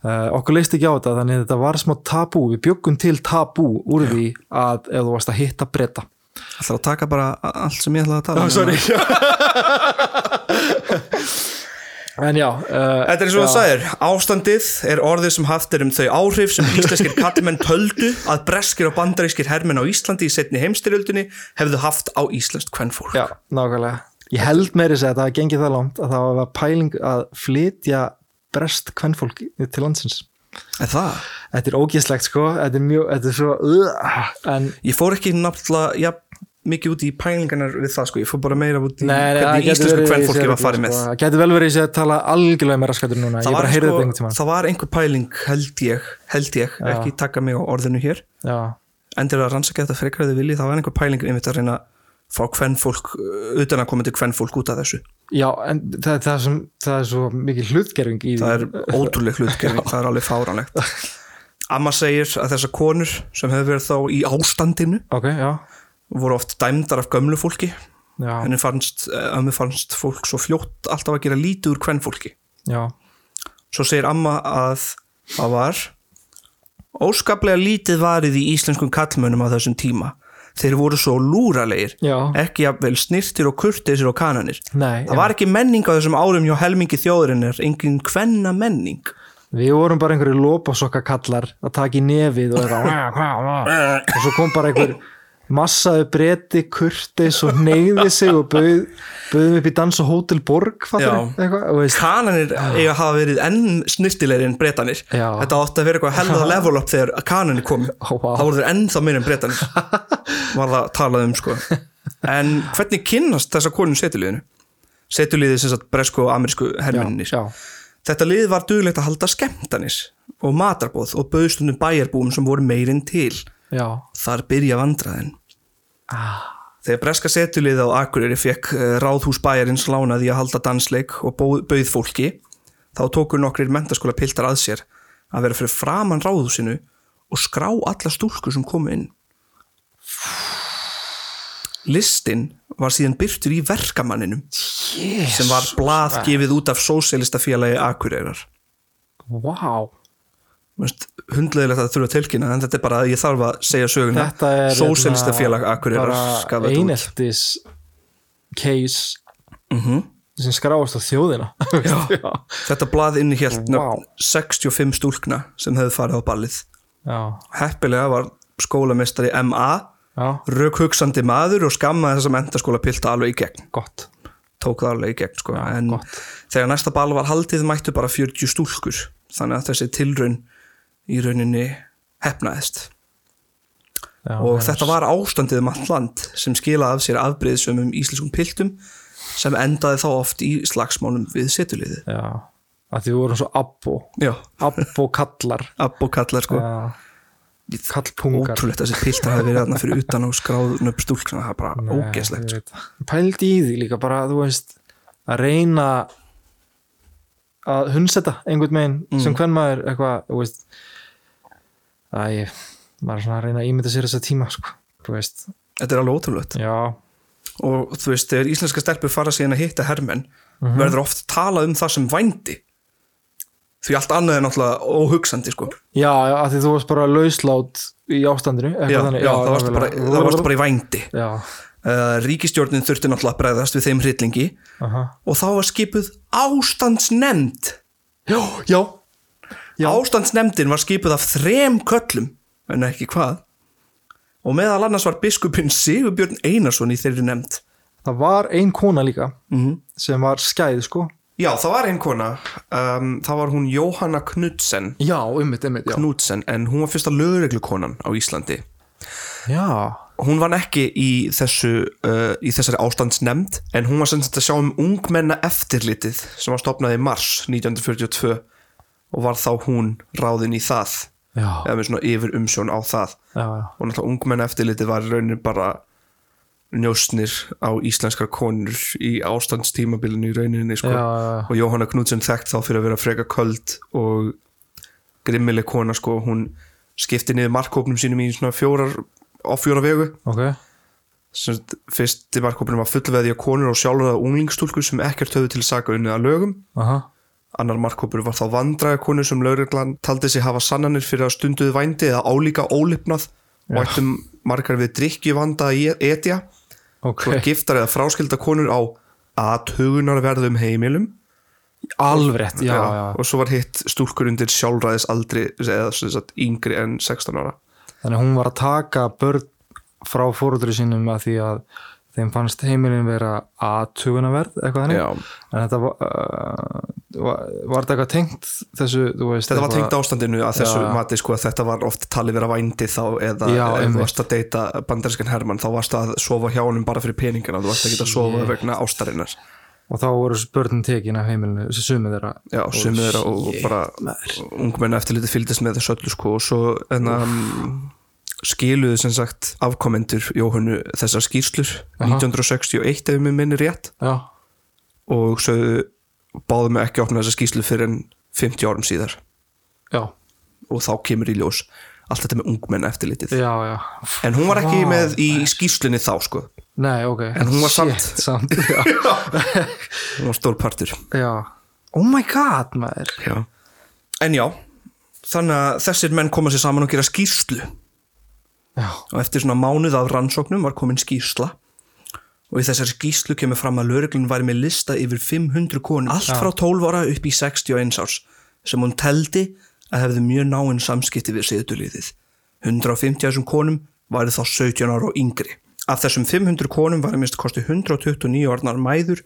Speaker 3: uh, okkur leist ekki á þetta, þannig að þetta var smá tabú, við bjöggum til tabú úr því að ef þú varst að hitta breyta
Speaker 2: ætlar að taka bara a- allt sem ég ætlaði að tala um
Speaker 3: en já, uh,
Speaker 2: Þetta er eins og það sagðir, ástandið er orðið sem haft er um þau áhrif sem íslenskir kallmenn töldu að breskir og bandarískir hermenn á Íslandi í setni heimstyrjöldinni hefðu haft á íslenskt kvennfólk.
Speaker 3: já, nákvæmlega ég held meiri segja að það hafi gengið það langt að það var pæling að flytja brest kvennfólk til landsins
Speaker 2: En það,
Speaker 3: Þetta er ógeðslegt sko, þetta er mjög, þetta er svo uh, en
Speaker 2: ég fór ekki náttúrulega ja, mikið út í pælingarnar við það sko, ég fór bara meira út í
Speaker 3: það
Speaker 2: hvernig
Speaker 3: gæti
Speaker 2: íslensku
Speaker 3: verið í
Speaker 2: kvennfólki
Speaker 3: sér
Speaker 2: var farið
Speaker 3: öllu,
Speaker 2: með. sko-
Speaker 3: sko. Það getur vel verið í sér að tala algjörlega meira skattur núna, ég bara heyrði þetta einhvern tímann
Speaker 2: það var einhver pæling held ég, held ég, ekki taka mig á orðinu hér,
Speaker 3: Já,
Speaker 2: endur að rannsaka þetta frekar eða vilji, það var einhver pæling um einmitt að reyna að fá kvennfólk, utan að koma til kvennfólk út af þessu.
Speaker 3: já, en það, það, sem, það er svo mikil hlutgerfing í
Speaker 2: það er ótrúleg hlutgerning, það er alveg fáránlegt Amma segir að þessar konur sem hefur verið þá í ástandinu
Speaker 3: Ok, já,
Speaker 2: voru oft dæmdar af gömlu fólki
Speaker 3: já,
Speaker 2: henni fannst, eh, ömmu fannst fólk svo fljótt alltaf að gera lítið úr hvern fólki
Speaker 3: já
Speaker 2: svo segir amma að það var óskaplega lítið varið í íslenskum kallmönnum á þessum tíma þeir voru svo lúralegir
Speaker 3: Já.
Speaker 2: ekki jafnvel snirtir og kurteisir og kananir
Speaker 3: Nei,
Speaker 2: það var ekki menning á þessum árum hjá helmingi þjóðurinnar engin hvenna menning
Speaker 3: Við vorum bara einhverju lópasokka kallar að taka í nefið og eitthvað "Vá, vá, vá." og svo kom bara einhver massaði bretti, kurteis og neyði sig og bauð, bauðum upp í dans og hótel borg fattarðu?
Speaker 2: Já.
Speaker 3: eitthvað, og veist,
Speaker 2: kananir eiga að hafa verið enn snirtilegri en bretanir
Speaker 3: Já.
Speaker 2: þetta átti að vera eitthvað helða level up þegar kananir komi
Speaker 3: Ó, vá.
Speaker 2: þá voru þeir ennþá meira en bretanir var það talað um sko en hvernig kynnast þessa konum setuliðinu setuliðið sem sagt bresku og amerísku hermenninir
Speaker 3: já,
Speaker 2: þetta lið var duglegt að halda skemmtanir og matarboð og bauðstundum bæjarbúum sem voru meirinn til
Speaker 3: já, Ah,
Speaker 2: þar byrja vandraðin Þegar breska setulið á Akureyri fekk eh, ráðhús bæjarins lánað í að halda dansleik og bóð- bauð fólki þá tókur nokkrir mentaskóla piltar að sér að vera fyrir framan ráðhúsinu og skrá alla stúlkur sem komu inn Listin var síðan byrtur í verkamanninum
Speaker 3: yes.
Speaker 2: sem var blað gefið út af sósialistafélagi Akureyrar
Speaker 3: wow.
Speaker 2: hundlegilegt að þurfa að tilkynna en þetta er bara að ég þarf að segja söguna
Speaker 3: þetta er hérna
Speaker 2: sósialistafélag Akureyrar
Speaker 3: bara
Speaker 2: gaf þetta út.
Speaker 3: eineltis case
Speaker 2: Mhm.
Speaker 3: sem skráast á þjóðina já,
Speaker 2: Þetta blað innihjalt
Speaker 3: Vá.
Speaker 2: wow. 65 stúlkna sem hefðu farið á ballið.
Speaker 3: já,
Speaker 2: Heppilega var skólamestari MA
Speaker 3: já,
Speaker 2: rauk hugsandi maður og skammaði þess að mentaskóla pilta alveg í gegn
Speaker 3: gott
Speaker 2: tók það alveg í gegn sko.
Speaker 3: Já,
Speaker 2: en
Speaker 3: gott.
Speaker 2: þegar næsta bal var haldið mættu bara 40 stúlkur þannig að þessi tilraun í rauninni hefnaðist
Speaker 3: já, hérna,
Speaker 2: og
Speaker 3: já,
Speaker 2: þetta var ástandið um allt land sem skilaði af sér afbreyðsumum íslenskum piltum sem endaði þá oft í slagsmálum við setuliði
Speaker 3: já, að því við vorum svo abbo
Speaker 2: já,
Speaker 3: abbo kallar
Speaker 2: abbo kallar sko
Speaker 3: já, kallpungar
Speaker 2: ótrúlegt að þessi piltar hafi verið þarna fyrir utan og skráðun upp stúlk það er bara
Speaker 3: Nei,
Speaker 2: ógeslegt
Speaker 3: ég
Speaker 2: sko.
Speaker 3: veit það. pældi í því líka bara þú veist að reyna að hundsetta einhvern megin
Speaker 2: Mm.
Speaker 3: sem hvern maður eitthvað þú veist að ég maður er svona að reyna að ímynda sér þessa tíma sko, þú veist,
Speaker 2: þetta er alveg ótrúlegt
Speaker 3: já
Speaker 2: og þú veist, þegar íslenska stelpur fara síðan að hitta hermenn
Speaker 3: Mhm.
Speaker 2: verður oft talað um það sem vændi því allt annað er náttúrulega óhugsandi sko.
Speaker 3: já, já, að því þú varst bara lauslát í ástandinu eitthvað
Speaker 2: já,
Speaker 3: þannig,
Speaker 2: já, það varst bara,
Speaker 3: nákvæmlega.
Speaker 2: það varst bara í vændi
Speaker 3: já,
Speaker 2: uh, ríkistjórnin þurfti náttúrulega að bregðast við þeim hryllingi
Speaker 3: aha
Speaker 2: og þá var skipuð ástandsnefnd
Speaker 3: já, já, Já.
Speaker 2: ástandsnefndin var skipuð af þrem köllum en ekki hvað og meðal annars var biskupin Sigurbjörn Einarsson í þeirri nefnd
Speaker 3: það var ein kona líka
Speaker 2: Mhm.
Speaker 3: -hmm. sem var skæð sko
Speaker 2: já, það var einn kona um, það var hún Jóhanna Knudsen
Speaker 3: já, ummitt, ummitt, já,
Speaker 2: Knudsen, en hún var fyrsta lögreglukonan á Íslandi
Speaker 3: já,
Speaker 2: hún vann ekki í, þessu, uh, í þessari ástandsnefnd en hún var sem sagt að sjá um ungmenna eftirlitið sem var stopnað í mars 1942 og var þá hún ráðin í það
Speaker 3: já, já,
Speaker 2: eða með svona yfir umsjón á það
Speaker 3: já.
Speaker 2: og náttúrulega ungmenna eftirlitið var raunir bara njósnir á íslenskar konur í ástandstímabilinu í rauninni sko.
Speaker 3: Já, já, já.
Speaker 2: og Jóhanna Knudsen þekkt þá fyrir að vera freka köld og grimmileg kona sko. hún skipti niður markkópnum sínum í svona fjórar á fjóra vegu
Speaker 3: ok
Speaker 2: Sem sagt, fyrsti markkópnum var fullveðja konur og sjálfraða unglingstúlku sem ekkert höfðu til saka unnið að lögum
Speaker 3: Aha.
Speaker 2: Annar markkópur var þá vandræðakonur sem lauruglan taldi sig hafa sannanir fyrir að stunduðu vændi eða álíka ólipnað og ættum margar við drikkjuvanda að etja
Speaker 3: Ok,
Speaker 2: og giftar eða fráskilda konur á aðhugunarverðum heimilum
Speaker 3: alveg rétt, já, já,
Speaker 2: og svo var hitt stúlkur undir sjálfræðis aldri eða sem sagt, yngri en 16 ára
Speaker 3: Þannig að hún var að taka börn frá fóröldri sínum að því að þeim fannst heimilin vera aðtugunaverð, eitthvað þannig.
Speaker 2: Já.
Speaker 3: En þetta var, uh, var, var þetta eitthvað tengt þessu, þú veist.
Speaker 2: Þetta var
Speaker 3: eitthvað-
Speaker 2: tengt ástandinu að þessu
Speaker 3: Já.
Speaker 2: mati sko að þetta var oft talið vera vændi þá eða
Speaker 3: Já,
Speaker 2: ef
Speaker 3: einmitt.
Speaker 2: þú varst að deyta bandarískan Hermann þá varst að sofa hjá honum bara fyrir peningana þú varst að geta að sofa vegna ástarinnar
Speaker 3: Og þá voru börnin tekin af heimilinu, þessi sumið þeirra.
Speaker 2: Já, sumið þeirra og bara ungmenna eftirliti fylgdist með þessu öllu sko og svo en að skiluðu sem sagt afkomendur Jóhannu þessar skýrslur 1961 ef mér minni rétt
Speaker 3: Já,
Speaker 2: og sögðu báðu mig ekki að opna þessar skýrslu fyrir en 50 árum síðar
Speaker 3: já,
Speaker 2: og þá kemur í ljós allt þetta með ungmenna eftirlitið
Speaker 3: já, já.
Speaker 2: en hún var ekki
Speaker 3: Vá.
Speaker 2: með í skýrslunni þá sko
Speaker 3: Nei, ok.
Speaker 2: En hún var
Speaker 3: Shit,
Speaker 2: samt-
Speaker 3: samt. já.
Speaker 2: hún var stór partur
Speaker 3: já. Oh my god, maður.
Speaker 2: já. en já þannig að þessir menn koma sér saman og gera skýrslu
Speaker 3: Já,
Speaker 2: og eftir svona mánuð af rannsóknum var komin skýrsla og í þessari skýrslu kemur fram að lögreglun var með lista yfir 500 konum allt frá 12 ára upp í 61 árs sem hún teldi að hefði mjög náinn samskipti við siðutuliðið 150 af þessum konum væri þá 17 ára og yngri af þessum 500 konum var að minnst kosti 129 orðnar mæður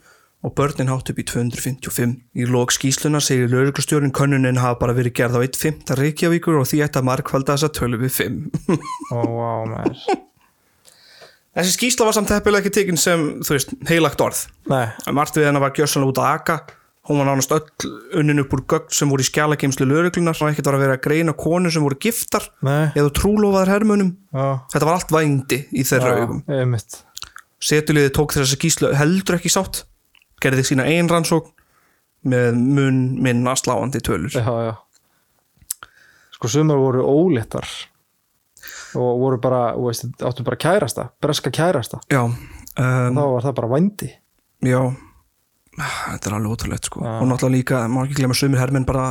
Speaker 2: og börnin hátt upp í 255 í lók skýsluna segir lögreglustjórin könnunin hafa bara verið gerð á 1.5 Reykjavíkur og því ætti að markvalda þessa tölu við 5
Speaker 3: ó, wow, maður.
Speaker 2: Þessi skýsla var samt heppilega ekki tekin sem, þú veist, heilagt orð.
Speaker 3: Nei,
Speaker 2: Margt við hennar var gjörsanlega út að aka, hún var nánast öll unnin upp úr gögn sem voru í skjálageimslu lögreglunar, það var ekkert var að vera að greina konu sem voru giftar
Speaker 3: Nei.
Speaker 2: eða trúlofaðar hermunum.
Speaker 3: já.
Speaker 2: Þetta var allt vændi í þeirra augum.
Speaker 3: Einmitt.
Speaker 2: Setuliði tók þessa skýslu heldur ekki sátt, gerði sína ein rannsókn með mun minna sláandi tölur.
Speaker 3: já, já. sko sumar voru óléttar og voru bara þú veist, áttu bara kærasta, breska kærasta
Speaker 2: Já, um,
Speaker 3: þá var það bara vændi
Speaker 2: já, Ah, þetta er alveg ótrúlegt sko. Og náttúrulega líka, maður ekki glemma sumir hermenn bara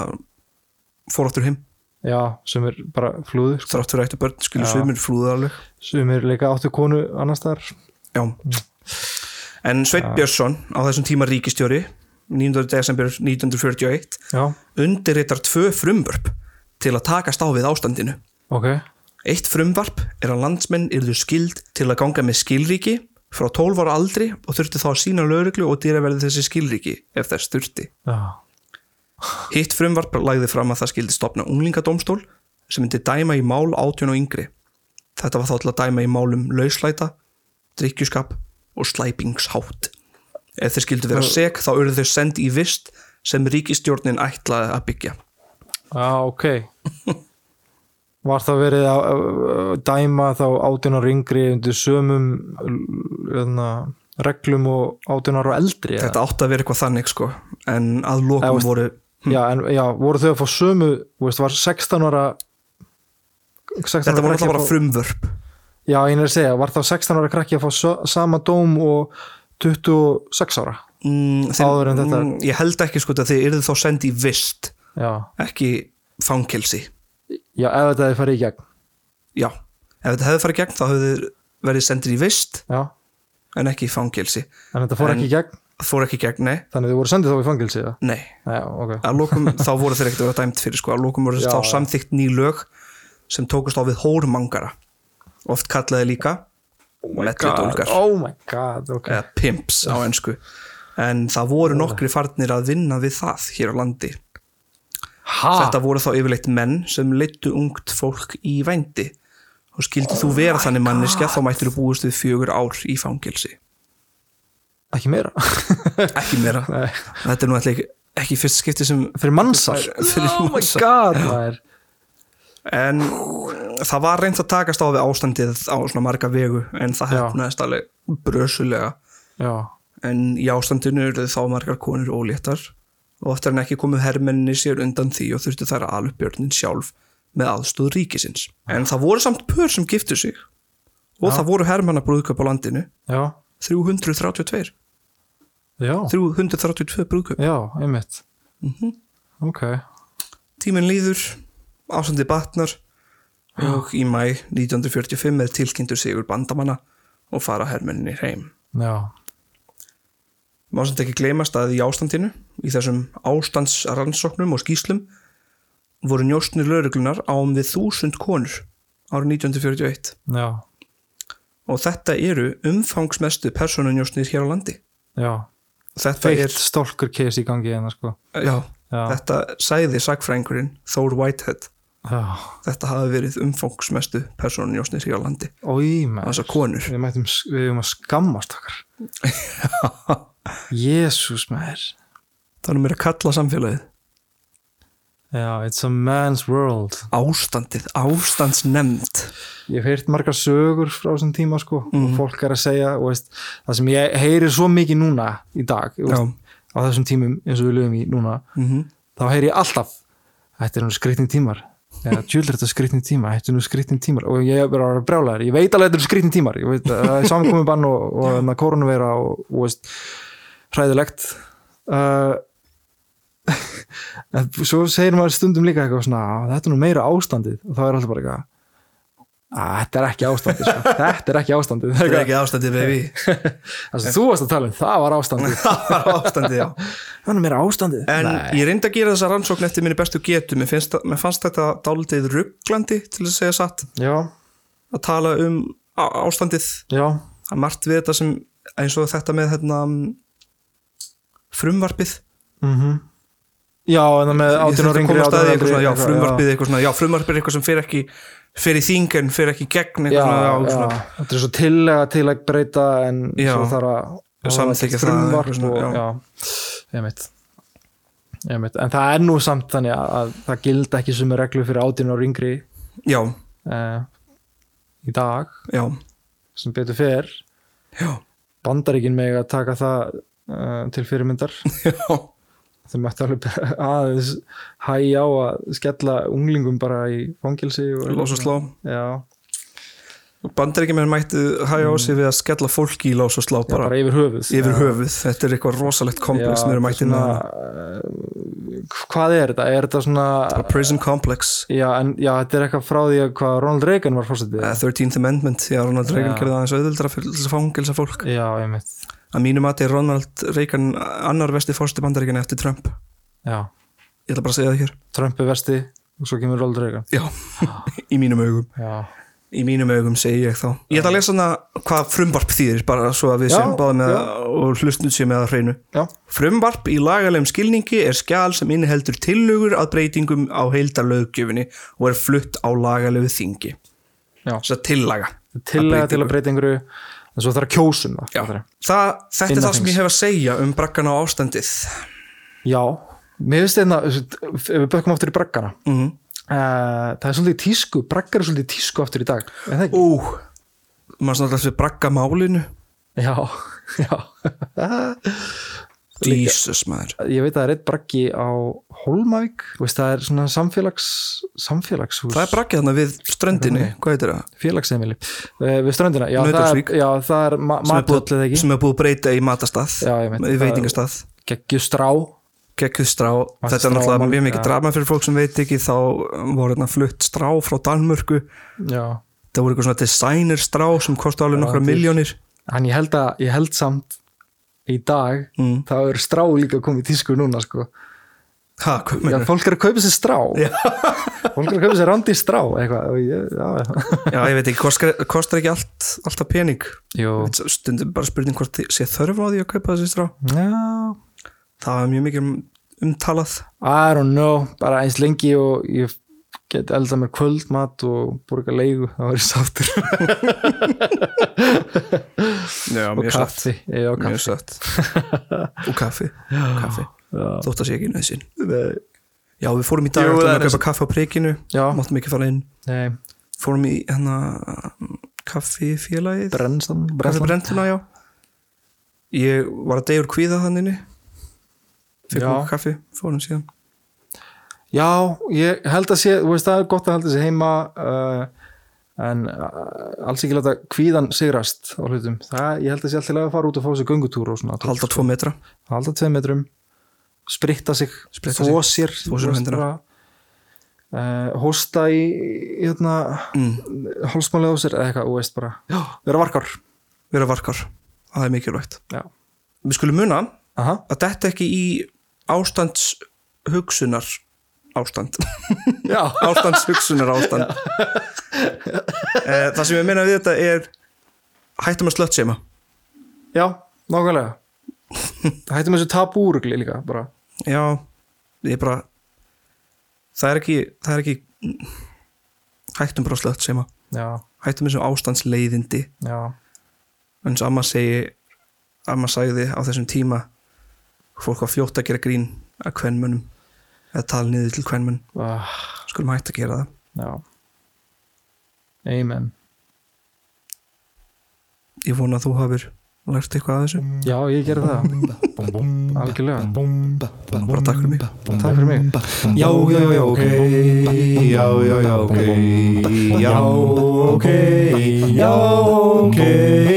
Speaker 2: fóráttur heim.
Speaker 3: já, sumir bara flúðu sko.
Speaker 2: þrátt fyrir ættu börn skilur svimur flúða alveg
Speaker 3: sumir líka áttu konu annars þar
Speaker 2: já en Sveit Björnsson á þessum tíma ríkistjóri 19. desember 1941
Speaker 3: já,
Speaker 2: undirritar tvö frumvörp til að takast á við ástandinu
Speaker 3: ok,
Speaker 2: Eitt frumvarp er að landsmenn yrðu skild til að ganga með skilríki frá 12 ára aldri og þurfti þá að sína lögreglu og dýraverði þessi skilríki ef þess þurfti.
Speaker 3: já,
Speaker 2: Hitt frumvarp lagði fram að það skildi stopna unglingadómstól sem myndi dæma í mál átjón og yngri. Þetta var þá til að dæma í málum lauslæta, drikkjuskap og slæpingshátt. Ef þeir skildu vera seg þá urðu þau send í vist sem ríkistjórnin ætlaði að byggja.
Speaker 3: já, ok var það verið að að dæma þá átunar yngri undir sömum öðna, reglum og átunar og eldri eða?
Speaker 2: Þetta átti að vera eitthvað þannig sko en að
Speaker 3: Eða,
Speaker 2: lokum
Speaker 3: veist-
Speaker 2: voru
Speaker 3: já, en, já, voru þau að fá sömu þú veist, var 16 ára 16
Speaker 2: þetta voru alltaf bara
Speaker 3: frum
Speaker 2: frumvörp
Speaker 3: já, ég er að segja, var þá 16 ára krakki að fá sö- sama dóm og 26 ára
Speaker 2: mm, þeim-
Speaker 3: Áður en þetta-
Speaker 2: mm, Ég held ekki sko að þið yrðu þá send í vist
Speaker 3: já,
Speaker 2: ekki fangelsi
Speaker 3: já ef þetta hefði farið í gegn
Speaker 2: Já, ef þetta hefði farið í gegn þá hefði þeir verið sendir í vist
Speaker 3: já,
Speaker 2: en ekki í fangelsi
Speaker 3: en þetta fór
Speaker 2: En-
Speaker 3: ekki í gegn
Speaker 2: fór ekki í gegn, nei,
Speaker 3: þannig þau voru sendið þá í fangilsi eða?
Speaker 2: nei.
Speaker 3: já, ok,
Speaker 2: að lokum þá voru þeir ekkert að vera dæmt fyrir sko. að lokum voru
Speaker 3: Já,
Speaker 2: þá
Speaker 3: já.
Speaker 2: samþykkt ný lög sem tókust á við hórmangara oft kallaði líka oh melludólgar
Speaker 3: oh my god ok,
Speaker 2: eða pimps á ennsku en það
Speaker 3: Oh.
Speaker 2: voru nokkri farnir að vinna við það hér á landi
Speaker 3: ha,
Speaker 2: þetta voru þá yfirleitt menn sem leittu ungt fólk í vændi og skildi
Speaker 3: Oh
Speaker 2: þú vera þannig manneskja þá mættir þú búist við fjögur ár í fangelsi
Speaker 3: ekki meira
Speaker 2: ekki meira,
Speaker 3: Nei.
Speaker 2: þetta er nú alltaf ekki, ekki fyrst skipti sem
Speaker 3: fyrir mannsal
Speaker 2: Fyrir
Speaker 3: oh my
Speaker 2: mannsal.
Speaker 3: god maður.
Speaker 2: en það var reynd að takast á við ástandið á svona marga vegu en það
Speaker 3: Já.
Speaker 2: hefnaðist alveg brösulega
Speaker 3: já,
Speaker 2: en í ástandinu eru þá margar konur óléttar og oftar en ekki komu hermenninni sér undan því og þurftu þær að ala upp björnin sjálf með aðstóð ríkisins en það voru samt pör sem giftu sig og það voru hermanna brúðköp á landinu
Speaker 3: já,
Speaker 2: 332
Speaker 3: já
Speaker 2: 332 brúðköp
Speaker 3: já, einmitt Mhm. ok,
Speaker 2: tíminn líður, ásandi batnar og í mæ 1945 er tilkynntur sigur bandamanna og fara hermenninni heim.
Speaker 3: já
Speaker 2: Má samt ekki gleymast að í ástandinu, í þessum ástandsrannsóknum og skýslum, voru njóstnir lauruglunar án við þúsund konur árið 1941
Speaker 3: já,
Speaker 2: og þetta eru umfangsmestu persónunjóstnir hér á landi.
Speaker 3: já
Speaker 2: Þetta
Speaker 3: feitt stólkur case í gangi hérna sko
Speaker 2: er, já,
Speaker 3: Já.
Speaker 2: þetta sæði sagfrængurinn Thor Whitehead.
Speaker 3: já,
Speaker 2: Þetta hafi verið umfangsmestu persónunjóstnir hér á landi,
Speaker 3: oi maður
Speaker 2: þessar konur.
Speaker 3: við mættum, við erum að skammast okkar jésús maður
Speaker 2: Það er mér að kalla samfélagið.
Speaker 3: já, it's a man's world
Speaker 2: Ástandið, ástandsnemnd.
Speaker 3: ég hef heyrt margar sögur frá þessum tíma sko, og fólk er að segja og veist, það sem ég heyri svo mikið núna í dag, þú veist, á þessum tímum eins og við lögum í núna þá heyri ég alltaf, þetta er nú skritin tímar eða djúlir þetta skritin tíma þetta er nú skritin tímar og ég er bara að brjála þér ég veit alveg þetta er skritin tímar ég veit, að það er samkomibann og, og, og koronaveira og, og veist, hræðilegt uh, en svo segir maður stundum líka eitthvað svona, "Á, þetta er nú meira ástandið og þá er alltaf bara eitthvað að þetta er ekki ástandið sko. þetta er ekki ástandið
Speaker 2: Það er ekki ástandið, baby.
Speaker 3: það sem þú varst að tala um, það var ástandið
Speaker 2: Það var ástandið, já.
Speaker 3: það var meira ástandið
Speaker 2: En ég reyndi að gera þessa rannsókn eftir minni bestu getu. Mér, finnst, það- mér fannst þetta dálítið rugglandi, til að segja satt,
Speaker 3: já,
Speaker 2: að tala um á- ástandið.
Speaker 3: já,
Speaker 2: Það er margt við þetta sem, eins og þetta með hérna, mm, frumvarpið.
Speaker 3: já, en það með
Speaker 2: Ég
Speaker 3: átján og
Speaker 2: þurfti að
Speaker 3: ringri
Speaker 2: komast að því eitthvað svona, já, frumvarpið er eitthvað svona, já, frumvarpið er eitthvað sem fer ekki, fer í þing en fer ekki í gegn, eitthvað
Speaker 3: já,
Speaker 2: svona, já,
Speaker 3: já,
Speaker 2: svona.
Speaker 3: þetta er svo tillega til að breyta en
Speaker 2: Já.
Speaker 3: svo þarf að
Speaker 2: Samþykkja það,
Speaker 3: frumvarp
Speaker 2: eitthvað svona,
Speaker 3: og,
Speaker 2: já.
Speaker 3: já, ég mitt ég mitt, en það er nú samt þannig að, að það gilda ekki sumi reglu fyrir átján og ringri
Speaker 2: Já,
Speaker 3: eh, í dag
Speaker 2: já,
Speaker 3: sem betur fer
Speaker 2: já,
Speaker 3: bandaríkin meg að taka það uh, til fyrirmyndar
Speaker 2: já.
Speaker 3: þeir mættu alveg bara aðeins hægja á að skella unglingum bara í fangilsi og
Speaker 2: Lás og slá
Speaker 3: Já,
Speaker 2: Bandaríkjumenn mættu hægja á sig við að skella fólki í lás og slá
Speaker 3: Mm. bara,
Speaker 2: bara,
Speaker 3: yfir höfuð
Speaker 2: yfir höfuð Þetta er eitthvað rosalegt komplex sem eru mættin að
Speaker 3: eh, Hvað er þetta? Er þetta svona
Speaker 2: Prison Complex
Speaker 3: já, en, já, þetta er eitthvað frá því að hvað Ronald Reagan var fórsetið
Speaker 2: eða 13th Amendment því að Ronald Reagan
Speaker 3: Já.
Speaker 2: gerði aðeins auðvildra fyrir þess að fangilsa fólk
Speaker 3: Já, ég mitt
Speaker 2: að mínu mati er Ronald Reagan annar vesti fórstu bandaríkina eftir Trump ég
Speaker 3: já.
Speaker 2: ætla bara að segja það hér
Speaker 3: Trump er vesti og svo kemur Ronald Reagan
Speaker 2: Já, í mínum augum
Speaker 3: já,
Speaker 2: Í mínum augum segi ég þá Ég ætla að lesa hana hvað frumvarp þýðir bara svo að við
Speaker 3: Já,
Speaker 2: séum báðum með
Speaker 3: já.
Speaker 2: það og hlustnum séum með það á hreinu
Speaker 3: já,
Speaker 2: Frumvarp í lagalegum skilningi er skjal sem inniheldur tillugur að breytingum á heildarlöggjöfinni og er flutt á lagalegu þingi
Speaker 3: já.
Speaker 2: Þess að tillaga
Speaker 3: tillega til
Speaker 2: breytingu.
Speaker 3: að breyta einhverju en svo þarf að kjósum það
Speaker 2: Já,
Speaker 3: Fattarðu?
Speaker 2: það, þetta er
Speaker 3: Innan
Speaker 2: það sem
Speaker 3: þings.
Speaker 2: ég hef að segja um brakkan á ástandið
Speaker 3: já. mér finnst þetta ef við bökkum aftur í braggana mm
Speaker 2: Mhm.
Speaker 3: það er svolítið í tísku braggar er svolítið í tísku aftur í dag er það ekki?
Speaker 2: Ú, maður svona alltaf brakka málinu
Speaker 3: já, já
Speaker 2: Jesus maður
Speaker 3: ég veit að það er eitt braggi á Holmavík veist, það er svona samfélags samfélagshús
Speaker 2: Það er brakkið þarna við ströndinni, hvað heitir það?
Speaker 3: félagsheimili uh, við ströndina já, það
Speaker 2: Nauthólsvík.
Speaker 3: er, já, það er ma
Speaker 2: Sem er búið-
Speaker 3: matvöldið ekki
Speaker 2: Sem er búið að breyta í matastað
Speaker 3: Já, ég veit.
Speaker 2: Í veitingastað,
Speaker 3: geggju strá
Speaker 2: gekkuð strá
Speaker 3: Varstu
Speaker 2: Þetta er náttúrulega
Speaker 3: strámál,
Speaker 2: mjög mikið
Speaker 3: já.
Speaker 2: drama fyrir fólk sem veit ekki Þá voru þarna flutt strá frá Danmörku
Speaker 3: já.
Speaker 2: Það voru eitthvað svona designer strá sem kosti alveg nokkra
Speaker 3: til.
Speaker 2: miljónir
Speaker 3: en ég held að ég held samt í dag
Speaker 2: Mm.
Speaker 3: þá er strá líka komið í tísku núna sko.
Speaker 2: Ha, hvað
Speaker 3: já,
Speaker 2: meinar?
Speaker 3: fólk er að kaupa sér strá fólk er að kaupa sér randi strá eitthvað og ég, já,
Speaker 2: Já, ég veit ekki, kostar, kostar ekki allt, alltaf pening
Speaker 3: Jú.
Speaker 2: Þetta er Stundum bara spurning hvort þið- sé þörf á því að kaupa þessi strá
Speaker 3: já
Speaker 2: Það var mjög mikið um- umtalað
Speaker 3: I don't know, bara eins lengi og ég get eldað mér kvöldmat og borga leigu, það verður sáttur
Speaker 2: Já,
Speaker 3: og kaffi, já,
Speaker 2: Mjög
Speaker 3: kaffi.
Speaker 2: satt Og kaffi, kaffi. Þótt að sé ekki nöðsinn Já, við fórum í dag
Speaker 3: Jú,
Speaker 2: Jú,
Speaker 3: það
Speaker 2: að
Speaker 3: er
Speaker 2: kaupa kaffi á prikinu
Speaker 3: Já.
Speaker 2: Máttum ekki fara inn
Speaker 3: Nei,
Speaker 2: Fórum í hérna kaffifélagið
Speaker 3: brennslan,
Speaker 2: Kaffi
Speaker 3: brennslan.
Speaker 2: brenduna, já Ég var að degur kvíða þannig Fyrir
Speaker 3: Já.
Speaker 2: mjög kaffi, fórum síðan
Speaker 3: Já, ég held að sé, þú veist, það er gott að halda sér heima uh, en uh, alls ekki láta kvíðan sigrast á hlutum. Það, ég held að sé alltaf að fara út og fá sér göngutúr og svona.
Speaker 2: Halda tvo metra
Speaker 3: halda tveim metrum, spritta sig,
Speaker 2: Spritta
Speaker 3: þvó sér,
Speaker 2: þvo sér á hendina.
Speaker 3: Uh, hósta í, í hérna, mm. hálsmálið á sér eða eitthvað, þú veist bara, Já. vera varkar.
Speaker 2: Vera varkar, það er mikilvægt
Speaker 3: Já.
Speaker 2: Við skulum muna
Speaker 3: Aha,
Speaker 2: að þetta ekki í ástands hugsunar ástand
Speaker 3: já,
Speaker 2: ástands hugsunar ástand Eh, það sem ég meina við þetta er hættum að slöttsema
Speaker 3: já, nákvæmlega. Hættum þessu tabúrugli líka, bara.
Speaker 2: já, ég bara það er ekki, það er ekki hættum bara að slöttsema
Speaker 3: Já,
Speaker 2: hættum þessu ástandsleiðindi
Speaker 3: já,
Speaker 2: eins og amma segi amma sagði á þessum tíma fólk var fljótt að gera grín að kvenmönum eða tala niður til kvenmön
Speaker 3: uh,
Speaker 2: skulum hætt að gera það
Speaker 3: já. Amen.
Speaker 2: ég vona að þú hafir lært eitthvað að þessu
Speaker 3: Já, ég gerði það Algjörlega,
Speaker 2: bara takk fyrir mig
Speaker 3: takk fyrir mig
Speaker 6: Já, já, já, ok Já, já, já, ok Já, ok Já, ok